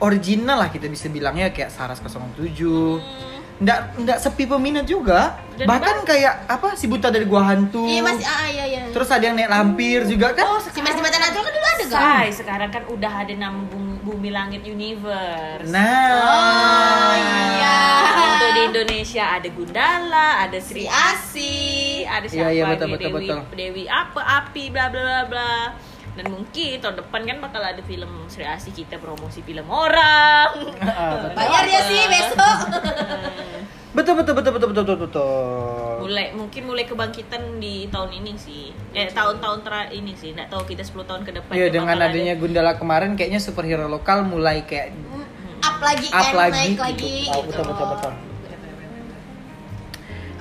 [SPEAKER 2] original lah kita bisa bilangnya kayak Saras 07.
[SPEAKER 3] Hmm,
[SPEAKER 2] Nggak nggak sepi peminat juga.
[SPEAKER 3] Dan
[SPEAKER 2] Bahkan kayak apa si buta dari gua hantu.
[SPEAKER 4] Iya masih ah iya iya.
[SPEAKER 2] Terus ada yang naik lampir juga kan.
[SPEAKER 3] Oh,
[SPEAKER 4] Si Mas di mata Najwa kan dulu ada kan?
[SPEAKER 3] Say, sekarang kan udah ada nama bumi, Bumi langit universe.
[SPEAKER 2] Nah.
[SPEAKER 4] Oh, iya.
[SPEAKER 3] Untuk di Indonesia ada Gundala, ada Sri Asi, ada
[SPEAKER 2] Iya,
[SPEAKER 3] siapa
[SPEAKER 2] iya, betul,
[SPEAKER 3] nih,
[SPEAKER 2] betul,
[SPEAKER 3] Dewi,
[SPEAKER 2] betul.
[SPEAKER 3] Dewi apa Api bla bla bla bla. Dan mungkin tahun depan kan bakal ada film Sri Asi kita promosi film orang.
[SPEAKER 2] Ah, betul.
[SPEAKER 4] Bayar ya sih besok.
[SPEAKER 2] Betul betul betul betul betul betul. betul.
[SPEAKER 3] mulai mungkin mulai kebangkitan di tahun ini sih. Eh tahun-tahun terakhir ini sih. Nggak tahu kita 10 tahun ke depan.
[SPEAKER 2] Iya
[SPEAKER 3] dia
[SPEAKER 2] dengan
[SPEAKER 3] bakal ada-
[SPEAKER 2] adanya Gundala kemarin kayaknya superhero lokal mulai kayak
[SPEAKER 4] Up lagi
[SPEAKER 2] up
[SPEAKER 4] kan
[SPEAKER 2] lagi.
[SPEAKER 4] naik lagi.
[SPEAKER 2] gitu. Oh, betul betul betul.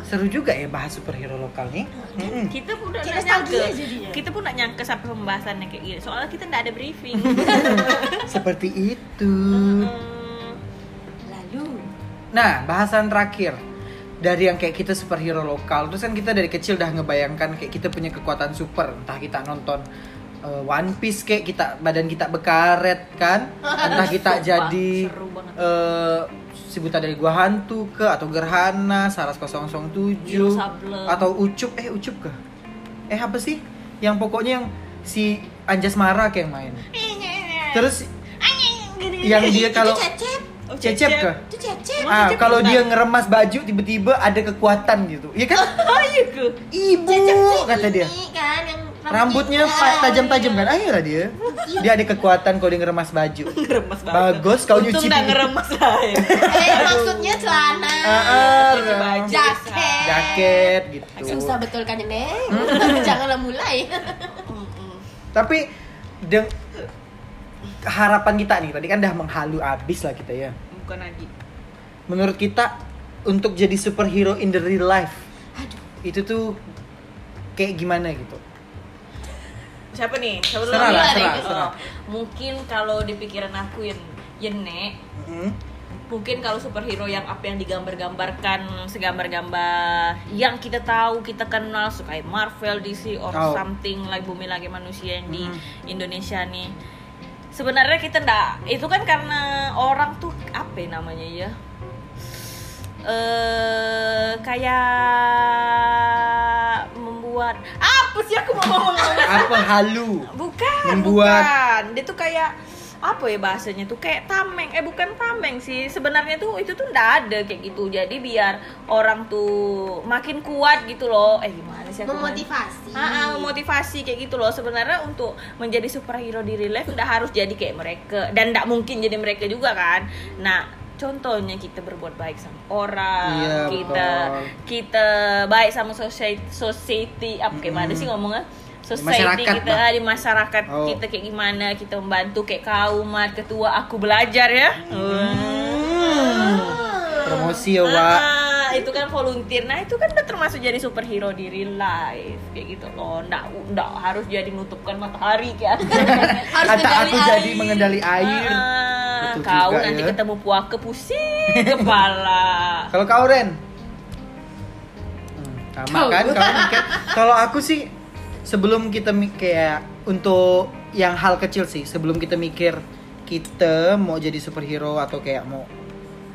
[SPEAKER 2] Seru juga ya bahas superhero lokal nih. Mm-mm.
[SPEAKER 3] kita pun udah
[SPEAKER 4] Kayak
[SPEAKER 3] nggak
[SPEAKER 4] nostalgia
[SPEAKER 3] nyangka
[SPEAKER 4] jadinya.
[SPEAKER 3] kita pun nggak nyangka sampai pembahasannya kayak gini soalnya kita nggak ada briefing
[SPEAKER 2] Seperti itu.
[SPEAKER 3] Hmm,
[SPEAKER 4] Lalu
[SPEAKER 2] Nah, bahasan terakhir dari yang kayak kita superhero lokal, terus kan kita dari kecil udah ngebayangkan kayak kita punya kekuatan super, entah kita nonton eh, One Piece kayak kita badan kita bekaret kan, entah kita
[SPEAKER 3] Sumpah,
[SPEAKER 2] jadi
[SPEAKER 3] seru banget.
[SPEAKER 2] eh, si buta dari gua hantu ke atau gerhana, saras 007
[SPEAKER 3] Wiro Sableng.
[SPEAKER 2] atau ucup eh ucup ke? Eh apa sih? Yang pokoknya yang si Anjas Mara kayak yang main.
[SPEAKER 3] Eh,
[SPEAKER 2] Terus yang dia
[SPEAKER 4] itu
[SPEAKER 2] kalau
[SPEAKER 4] cecep,
[SPEAKER 3] oh,
[SPEAKER 2] cecep ke?
[SPEAKER 4] itu cecep.
[SPEAKER 3] Emang
[SPEAKER 2] Ah,
[SPEAKER 3] cecep
[SPEAKER 2] kalau
[SPEAKER 3] pintar?
[SPEAKER 2] dia ngeremas baju tiba-tiba ada kekuatan gitu. Iya kan?
[SPEAKER 3] oh iya ke
[SPEAKER 2] Ibu
[SPEAKER 4] Cecep tuh
[SPEAKER 2] kata dia.
[SPEAKER 4] ini kan yang Iya.
[SPEAKER 2] Rambutnya pa- tajam-tajam kan? Akhirnya dia. Dia ada kekuatan kalau dia ngeremas baju.
[SPEAKER 3] ngeremas banget
[SPEAKER 2] Bagus kau
[SPEAKER 3] untung
[SPEAKER 2] nyuci.
[SPEAKER 3] nggak
[SPEAKER 2] pipi.
[SPEAKER 3] ngeremas lah ya
[SPEAKER 4] Eh maksudnya celana.
[SPEAKER 2] Ah, ah,
[SPEAKER 3] Nyuci baju.
[SPEAKER 4] Jaket.
[SPEAKER 2] Jaket gitu.
[SPEAKER 4] Susah betul kan Neng?
[SPEAKER 2] Hmm.
[SPEAKER 4] Janganlah mulai.
[SPEAKER 2] Tapi deng- harapan kita nih tadi kan udah menghalu abis lah kita ya.
[SPEAKER 3] bukan lagi
[SPEAKER 2] Menurut kita untuk jadi superhero in the real life itu tuh kayak gimana gitu.
[SPEAKER 3] siapa nih siapa
[SPEAKER 2] Serah
[SPEAKER 3] dulu?
[SPEAKER 2] lah,
[SPEAKER 3] Ada
[SPEAKER 2] serah,
[SPEAKER 3] yang-
[SPEAKER 2] serah.
[SPEAKER 3] Oh, mungkin kalau di pikiran aku yang Yenek
[SPEAKER 2] Mm.
[SPEAKER 3] mungkin kalau superhero yang apa yang digambar-gambarkan segambar-gambar yang kita tahu kita kenal suka kayak Marvel DC or
[SPEAKER 2] Oh.
[SPEAKER 3] something like bumi lagi manusia yang di
[SPEAKER 2] Hmm.
[SPEAKER 3] Indonesia nih sebenarnya kita ndak itu kan karena orang tuh apa ya namanya ya eh kayak membuat apa sih aku mau ngomong
[SPEAKER 2] Apa halu?
[SPEAKER 3] Bukan,
[SPEAKER 2] Membuat-
[SPEAKER 3] bukan. Dia tuh kayak apa ya bahasanya tuh kayak tameng eh bukan tameng sih sebenarnya tuh itu tuh ndak ada kayak gitu jadi biar orang tuh makin kuat gitu loh eh gimana sih aku
[SPEAKER 4] Memotivasi.
[SPEAKER 3] Ah, ah, memotivasi kayak gitu loh sebenarnya untuk menjadi superhero di real life ndak harus jadi kayak mereka dan ndak mungkin jadi mereka juga kan nah contohnya kita berbuat baik sama orang
[SPEAKER 2] Iya,
[SPEAKER 3] kita
[SPEAKER 2] betul.
[SPEAKER 3] kita baik sama society society apa gimana
[SPEAKER 2] Mm-mm.
[SPEAKER 3] sih ngomongnya society
[SPEAKER 2] masyarakat,
[SPEAKER 3] kita
[SPEAKER 2] Mbak.
[SPEAKER 3] ah, di masyarakat
[SPEAKER 2] Oh.
[SPEAKER 3] kita kayak gimana kita membantu kayak kaum mat ketua aku belajar ya
[SPEAKER 2] Hmm. Promosi ya,
[SPEAKER 3] Wah.
[SPEAKER 2] Wak.
[SPEAKER 3] Ah, itu kan volunteer nah itu kan udah termasuk jadi superhero di real life kayak gitu loh ndak ndak harus jadi nutupkan matahari kayak
[SPEAKER 4] Harus
[SPEAKER 2] Kata
[SPEAKER 4] kendali
[SPEAKER 2] aku
[SPEAKER 4] air.
[SPEAKER 2] jadi mengendali air.
[SPEAKER 3] Ah,
[SPEAKER 2] Betul
[SPEAKER 3] kau
[SPEAKER 2] juga,
[SPEAKER 3] nanti
[SPEAKER 2] ya.
[SPEAKER 3] ketemu puaka pusing kepala
[SPEAKER 2] Kalau kau Ren, sama kan kamu mikir kalau aku sih sebelum kita mi- kayak untuk yang hal kecil sih sebelum kita mikir kita mau jadi superhero atau kayak mau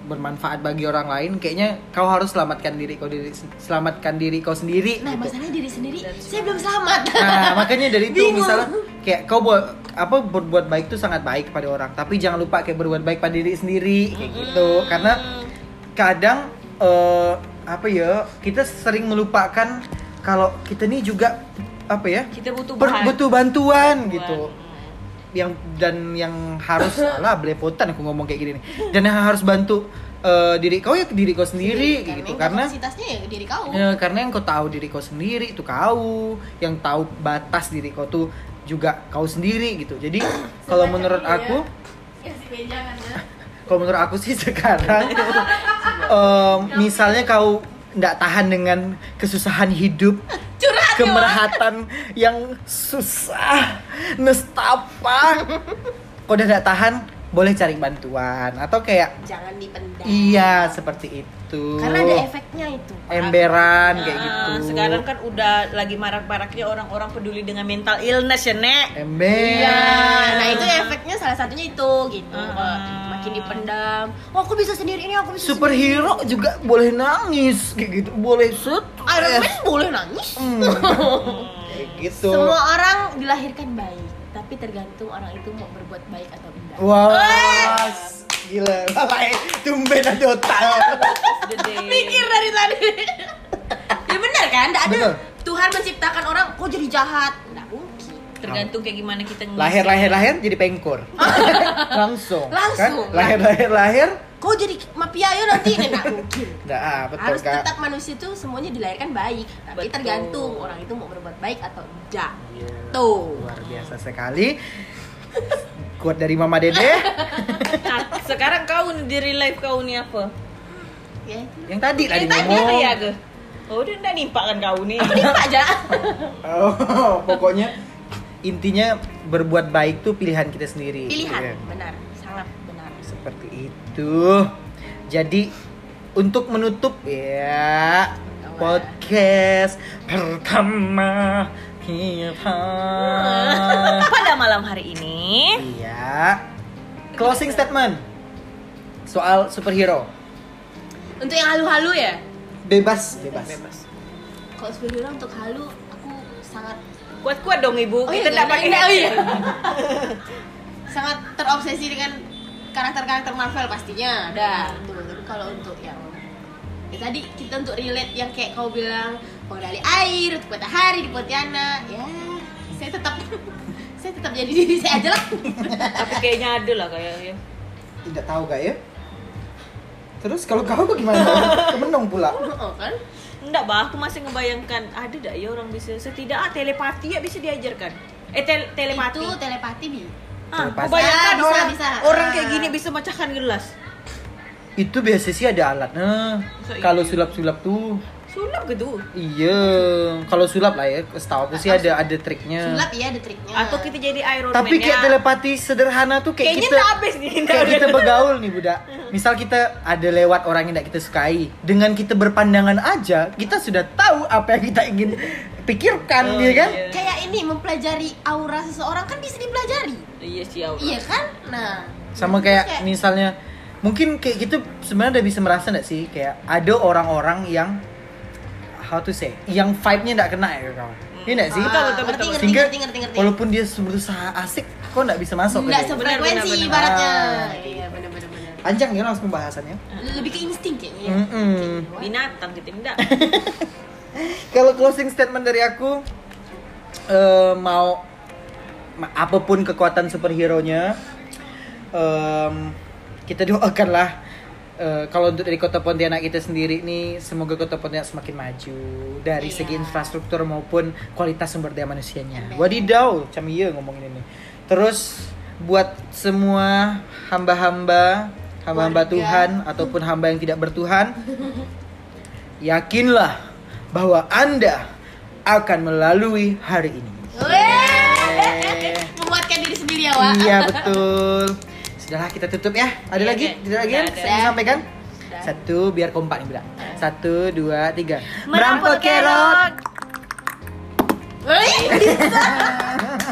[SPEAKER 2] bermanfaat bagi orang lain kayaknya kau harus selamatkan diri kau diri selamatkan diri kau sendiri
[SPEAKER 4] Nah,
[SPEAKER 2] gitu.
[SPEAKER 4] masalahnya diri sendiri, saya belum selamat.
[SPEAKER 2] Nah, makanya dari itu
[SPEAKER 4] Bingung.
[SPEAKER 2] misalnya kayak kau buat apa berbuat baik itu sangat baik pada orang, tapi jangan lupa kayak berbuat baik pada diri sendiri kayak gitu. Karena kadang eh, apa ya, kita sering melupakan kalau kita nih juga apa ya?
[SPEAKER 3] Kita butuh
[SPEAKER 2] per-
[SPEAKER 3] bahan.
[SPEAKER 2] butuh bantuan
[SPEAKER 3] Bantuan.
[SPEAKER 2] gitu. Yang dan yang harus lah belepotan aku ngomong kayak gini nih. Dan yang harus bantu eh, diri kau ya diri kau sendiri kayak gitu karena
[SPEAKER 4] kapasitasnya ya diri kau.
[SPEAKER 2] Ya, karena yang kau tahu diri kau sendiri itu kau, yang tahu batas diri kau tuh juga kau sendiri gitu. Jadi kalau menurut aku,
[SPEAKER 1] Ya si Beja kan ya.
[SPEAKER 2] kalau menurut aku sih sekarang, em, misalnya kau nggak tahan dengan kesusahan hidup, kemerhatan yang susah, nestapa, kau udah nggak tahan, boleh cari bantuan atau kayak
[SPEAKER 4] Jangan dipendam.
[SPEAKER 2] iya seperti itu.
[SPEAKER 4] Ya. Karena ada efeknya itu.
[SPEAKER 2] Emberan kayak
[SPEAKER 3] Ah,
[SPEAKER 2] gitu.
[SPEAKER 3] Sekarang kan udah lagi marak-maraknya orang-orang peduli dengan mental illness ya, Nek.
[SPEAKER 2] ember.
[SPEAKER 4] Iya, nah itu efeknya salah satunya itu gitu.
[SPEAKER 3] Ah.
[SPEAKER 4] Kalau makin dipendam, oh aku bisa sendiri ini, aku bisa
[SPEAKER 2] superhero juga boleh nangis kayak gitu boleh stres
[SPEAKER 4] sendiri. Iron Man boleh nangis.
[SPEAKER 2] Hmm. Kayak gitu
[SPEAKER 4] Semua orang dilahirkan baik, tapi tergantung orang itu mau berbuat baik atau enggak.
[SPEAKER 2] wah
[SPEAKER 4] Eh.
[SPEAKER 2] gila Baik, tumben ada otak
[SPEAKER 3] The day.
[SPEAKER 4] Mikir dari tadi. ya benar kan? Enggak ada.
[SPEAKER 2] Betul.
[SPEAKER 4] Tuhan menciptakan orang kok jadi jahat. Enggak mungkin.
[SPEAKER 3] Tergantung kayak gimana kita ngisi.
[SPEAKER 2] lahir lahir lahir jadi pengkor langsung kan
[SPEAKER 4] Langsung.
[SPEAKER 2] lahir lahir lahir
[SPEAKER 4] Kok jadi mafia ya nanti enggak mungkin.
[SPEAKER 2] nggak ah, betul
[SPEAKER 4] Harus
[SPEAKER 2] kak
[SPEAKER 4] tetap manusia itu semuanya dilahirkan baik, tapi
[SPEAKER 3] Betul.
[SPEAKER 4] tergantung orang itu mau berbuat baik atau enggak.
[SPEAKER 2] Iya,
[SPEAKER 4] Tuh.
[SPEAKER 2] luar biasa sekali kuat dari mama dede
[SPEAKER 3] Nah, sekarang kau nih, di real life kau nih apa?
[SPEAKER 4] Ya.
[SPEAKER 2] yang tadi tadi
[SPEAKER 3] Tadi
[SPEAKER 2] ngomong
[SPEAKER 3] apa ya ke? Oh, udah ndak nimpak kan kau nih.
[SPEAKER 4] Apa aja?
[SPEAKER 2] Oh, pokoknya intinya berbuat baik tuh pilihan kita sendiri
[SPEAKER 4] Pilihan.
[SPEAKER 2] Iya.
[SPEAKER 4] Benar, sangat benar.
[SPEAKER 2] Seperti itu. Jadi untuk menutup ya podcast pertama kita.
[SPEAKER 3] Pada malam hari ini,
[SPEAKER 2] Iya. Closing statement soal superhero.
[SPEAKER 4] Untuk yang halu-halu ya?
[SPEAKER 2] Bebas, bebas.
[SPEAKER 4] Kalau sebelumnya untuk halu aku sangat
[SPEAKER 3] kuat-kuat dong ibu.
[SPEAKER 4] Oh,
[SPEAKER 3] kita
[SPEAKER 4] iya,
[SPEAKER 3] ndak pakai
[SPEAKER 4] iya, iya.
[SPEAKER 3] headset.
[SPEAKER 4] sangat terobsesi dengan karakter-karakter Marvel pastinya ada tuh tapi kalau untuk yang ya tadi kita untuk relate yang kayak kau bilang kau dari air untuk matahari di Pontianak ya saya tetap saya tetap jadi diri saya aja lah
[SPEAKER 3] Tapi kayaknya ada lah ya. kayaknya.
[SPEAKER 2] Tidak tahu gak ya? Terus kalau kau bagaimana? Kemenung pula.
[SPEAKER 4] oh, kan
[SPEAKER 3] Enggak bah, aku masih ngebayangkan ada dak ya orang bisa setidak ah, telepati ya bisa diajarkan. Eh tel- telepati.
[SPEAKER 4] itu telepati bi
[SPEAKER 3] Ah,
[SPEAKER 2] Telepati.
[SPEAKER 3] kebayangkan
[SPEAKER 4] Ah, bisa,
[SPEAKER 3] orang
[SPEAKER 4] bisa.
[SPEAKER 3] orang
[SPEAKER 4] Ah.
[SPEAKER 3] kayak gini bisa mecahkan gelas.
[SPEAKER 2] Itu biasa sih ada alatnya.
[SPEAKER 3] Masa iya?
[SPEAKER 2] Kalau sulap-sulap tuh
[SPEAKER 3] Sulap gitu.
[SPEAKER 2] Iya, kalau sulap lah ya, setahu aku sih ada ada triknya.
[SPEAKER 4] sulap ya ada triknya
[SPEAKER 3] Atau kita jadi Iron Man.
[SPEAKER 2] Tapi kayak telepati sederhana tuh kayak
[SPEAKER 3] Kayaknya
[SPEAKER 2] kita
[SPEAKER 3] tak habis nih.
[SPEAKER 2] kayak kita bergaul nih budak.
[SPEAKER 3] Iya.
[SPEAKER 2] Misal kita ada lewat orang yang tidak kita sukai, dengan kita berpandangan aja kita sudah tahu apa yang kita ingin pikirkan,
[SPEAKER 3] Oh,
[SPEAKER 2] ya kan?
[SPEAKER 3] iya.
[SPEAKER 4] kayak ini mempelajari aura seseorang kan bisa dipelajari
[SPEAKER 3] Iya sih Aura.
[SPEAKER 4] iya kan nah
[SPEAKER 2] Sama
[SPEAKER 4] Terus
[SPEAKER 2] kayak misalnya mungkin kayak gitu sebenarnya udah bisa merasa nggak sih kayak ada orang-orang yang how to say yang vibe-nya nggak kena ya kawan. Iya nggak sih?
[SPEAKER 4] Ah,
[SPEAKER 3] Betul, betul,
[SPEAKER 4] ngerti,
[SPEAKER 3] betul.
[SPEAKER 4] ngerti,
[SPEAKER 2] Sehingga
[SPEAKER 4] ngerti, ngerti, ngerti.
[SPEAKER 2] walaupun dia berusaha asik, kok nggak bisa masuk? ke
[SPEAKER 4] nggak
[SPEAKER 2] dia?
[SPEAKER 4] sefrekuensi
[SPEAKER 3] Benar, benar, benar.
[SPEAKER 4] ibaratnya
[SPEAKER 2] Ah.
[SPEAKER 4] iya benar benar benar
[SPEAKER 2] panjang ya langsung pembahasannya.
[SPEAKER 4] lebih ke insting kayaknya ya.
[SPEAKER 2] Mm-mm.
[SPEAKER 3] Binatang gitu, kita enggak.
[SPEAKER 2] Kalau closing statement dari aku eh, mau ma- apapun kekuatan superhero-nya em, kita doakanlah eh, kalau untuk dari Kota Pontianak kita sendiri nih semoga Kota Pontianak semakin maju dari
[SPEAKER 4] Iya.
[SPEAKER 2] segi infrastruktur maupun kualitas sumber daya manusianya. Wadidaw, macam iya ngomongin ini. Terus buat semua hamba-hamba, hamba-hamba
[SPEAKER 4] Warga.
[SPEAKER 2] Tuhan ataupun hamba yang tidak bertuhan, yakinlah bahwa Anda akan melalui hari ini.
[SPEAKER 4] Weh, Memuatkan diri sendiri ya, Wak.
[SPEAKER 2] Iya betul. Sudahlah kita tutup ya. Ada
[SPEAKER 3] Iya,
[SPEAKER 2] lagi?
[SPEAKER 3] Dek.
[SPEAKER 2] Ada lagi?
[SPEAKER 3] Udah
[SPEAKER 2] yang
[SPEAKER 3] ada.
[SPEAKER 2] Saya sampaikan.
[SPEAKER 4] Udah.
[SPEAKER 2] Satu biar kompak nih bilang. Satu, dua, tiga.
[SPEAKER 4] Merampok kerok. Wih, bisa.